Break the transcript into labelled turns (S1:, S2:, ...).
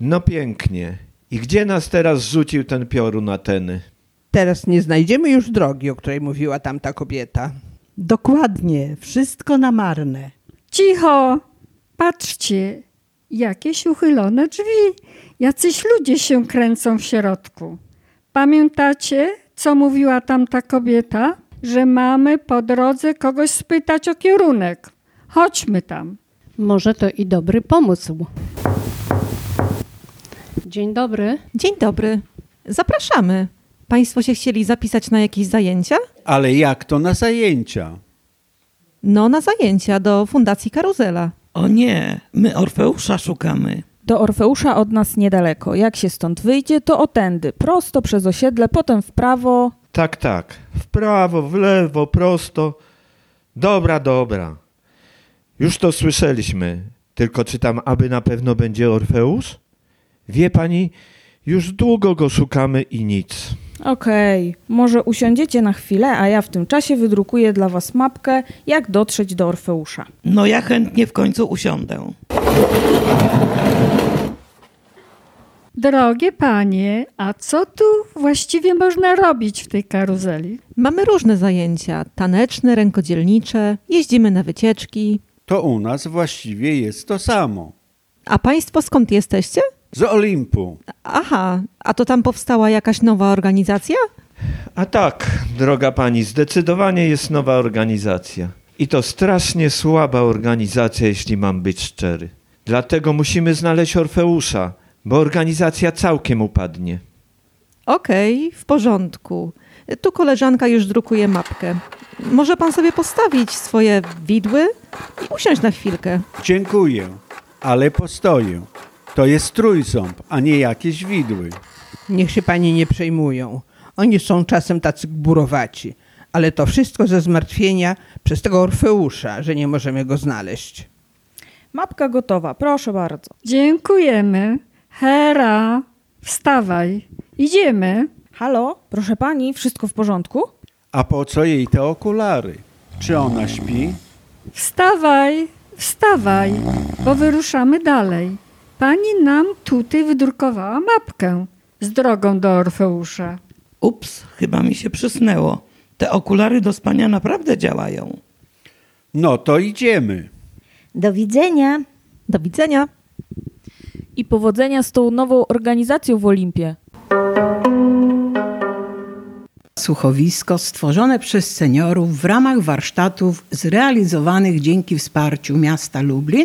S1: No pięknie. I gdzie nas teraz rzucił ten piorun Ateny?
S2: Teraz nie znajdziemy już drogi, o której mówiła tamta kobieta.
S3: Dokładnie, wszystko na marne.
S4: Cicho! Patrzcie, jakieś uchylone drzwi. Jacyś ludzie się kręcą w środku. Pamiętacie, co mówiła tamta kobieta? Że mamy po drodze kogoś spytać o kierunek. Chodźmy tam.
S5: Może to i dobry pomysł. Dzień dobry.
S6: Dzień dobry. Zapraszamy. Państwo się chcieli zapisać na jakieś zajęcia?
S7: Ale jak to na zajęcia?
S6: No, na zajęcia do Fundacji Karuzela.
S8: O nie, my Orfeusza szukamy.
S9: Do Orfeusza od nas niedaleko. Jak się stąd wyjdzie, to otędy. Prosto przez osiedle, potem w prawo.
S1: Tak, tak. W prawo, w lewo, prosto. Dobra, dobra. Już to słyszeliśmy. Tylko czytam, aby na pewno będzie Orfeusz? Wie pani, już długo go szukamy i nic.
S9: Okej, może usiądziecie na chwilę, a ja w tym czasie wydrukuję dla was mapkę, jak dotrzeć do Orfeusza.
S8: No ja chętnie w końcu usiądę.
S4: Drogie panie, a co tu właściwie można robić w tej karuzeli?
S6: Mamy różne zajęcia: taneczne, rękodzielnicze, jeździmy na wycieczki.
S7: To u nas właściwie jest to samo.
S6: A Państwo skąd jesteście?
S7: Z Olimpu.
S6: Aha, a to tam powstała jakaś nowa organizacja?
S1: A tak, droga pani, zdecydowanie jest nowa organizacja. I to strasznie słaba organizacja, jeśli mam być szczery. Dlatego musimy znaleźć Orfeusza, bo organizacja całkiem upadnie.
S6: Okej, w porządku. Tu koleżanka już drukuje mapkę. Może pan sobie postawić swoje widły i usiąść na chwilkę.
S7: Dziękuję, ale postoję. To jest trójząb, a nie jakieś widły.
S2: Niech się pani nie przejmują. Oni są czasem tacy gburowaci. Ale to wszystko ze zmartwienia przez tego Orfeusza, że nie możemy go znaleźć.
S9: Mapka gotowa, proszę bardzo.
S4: Dziękujemy. Hera, wstawaj. Idziemy.
S9: Halo, proszę pani, wszystko w porządku?
S7: A po co jej te okulary? Czy ona śpi?
S4: Wstawaj, wstawaj, bo wyruszamy dalej. Pani nam tutaj wydrukowała mapkę z drogą do Orfeusza.
S8: Ups, chyba mi się przysnęło. Te okulary do spania naprawdę działają.
S7: No to idziemy.
S10: Do widzenia.
S6: Do widzenia.
S9: I powodzenia z tą nową organizacją w Olimpie.
S11: Słuchowisko stworzone przez seniorów w ramach warsztatów zrealizowanych dzięki wsparciu miasta Lublin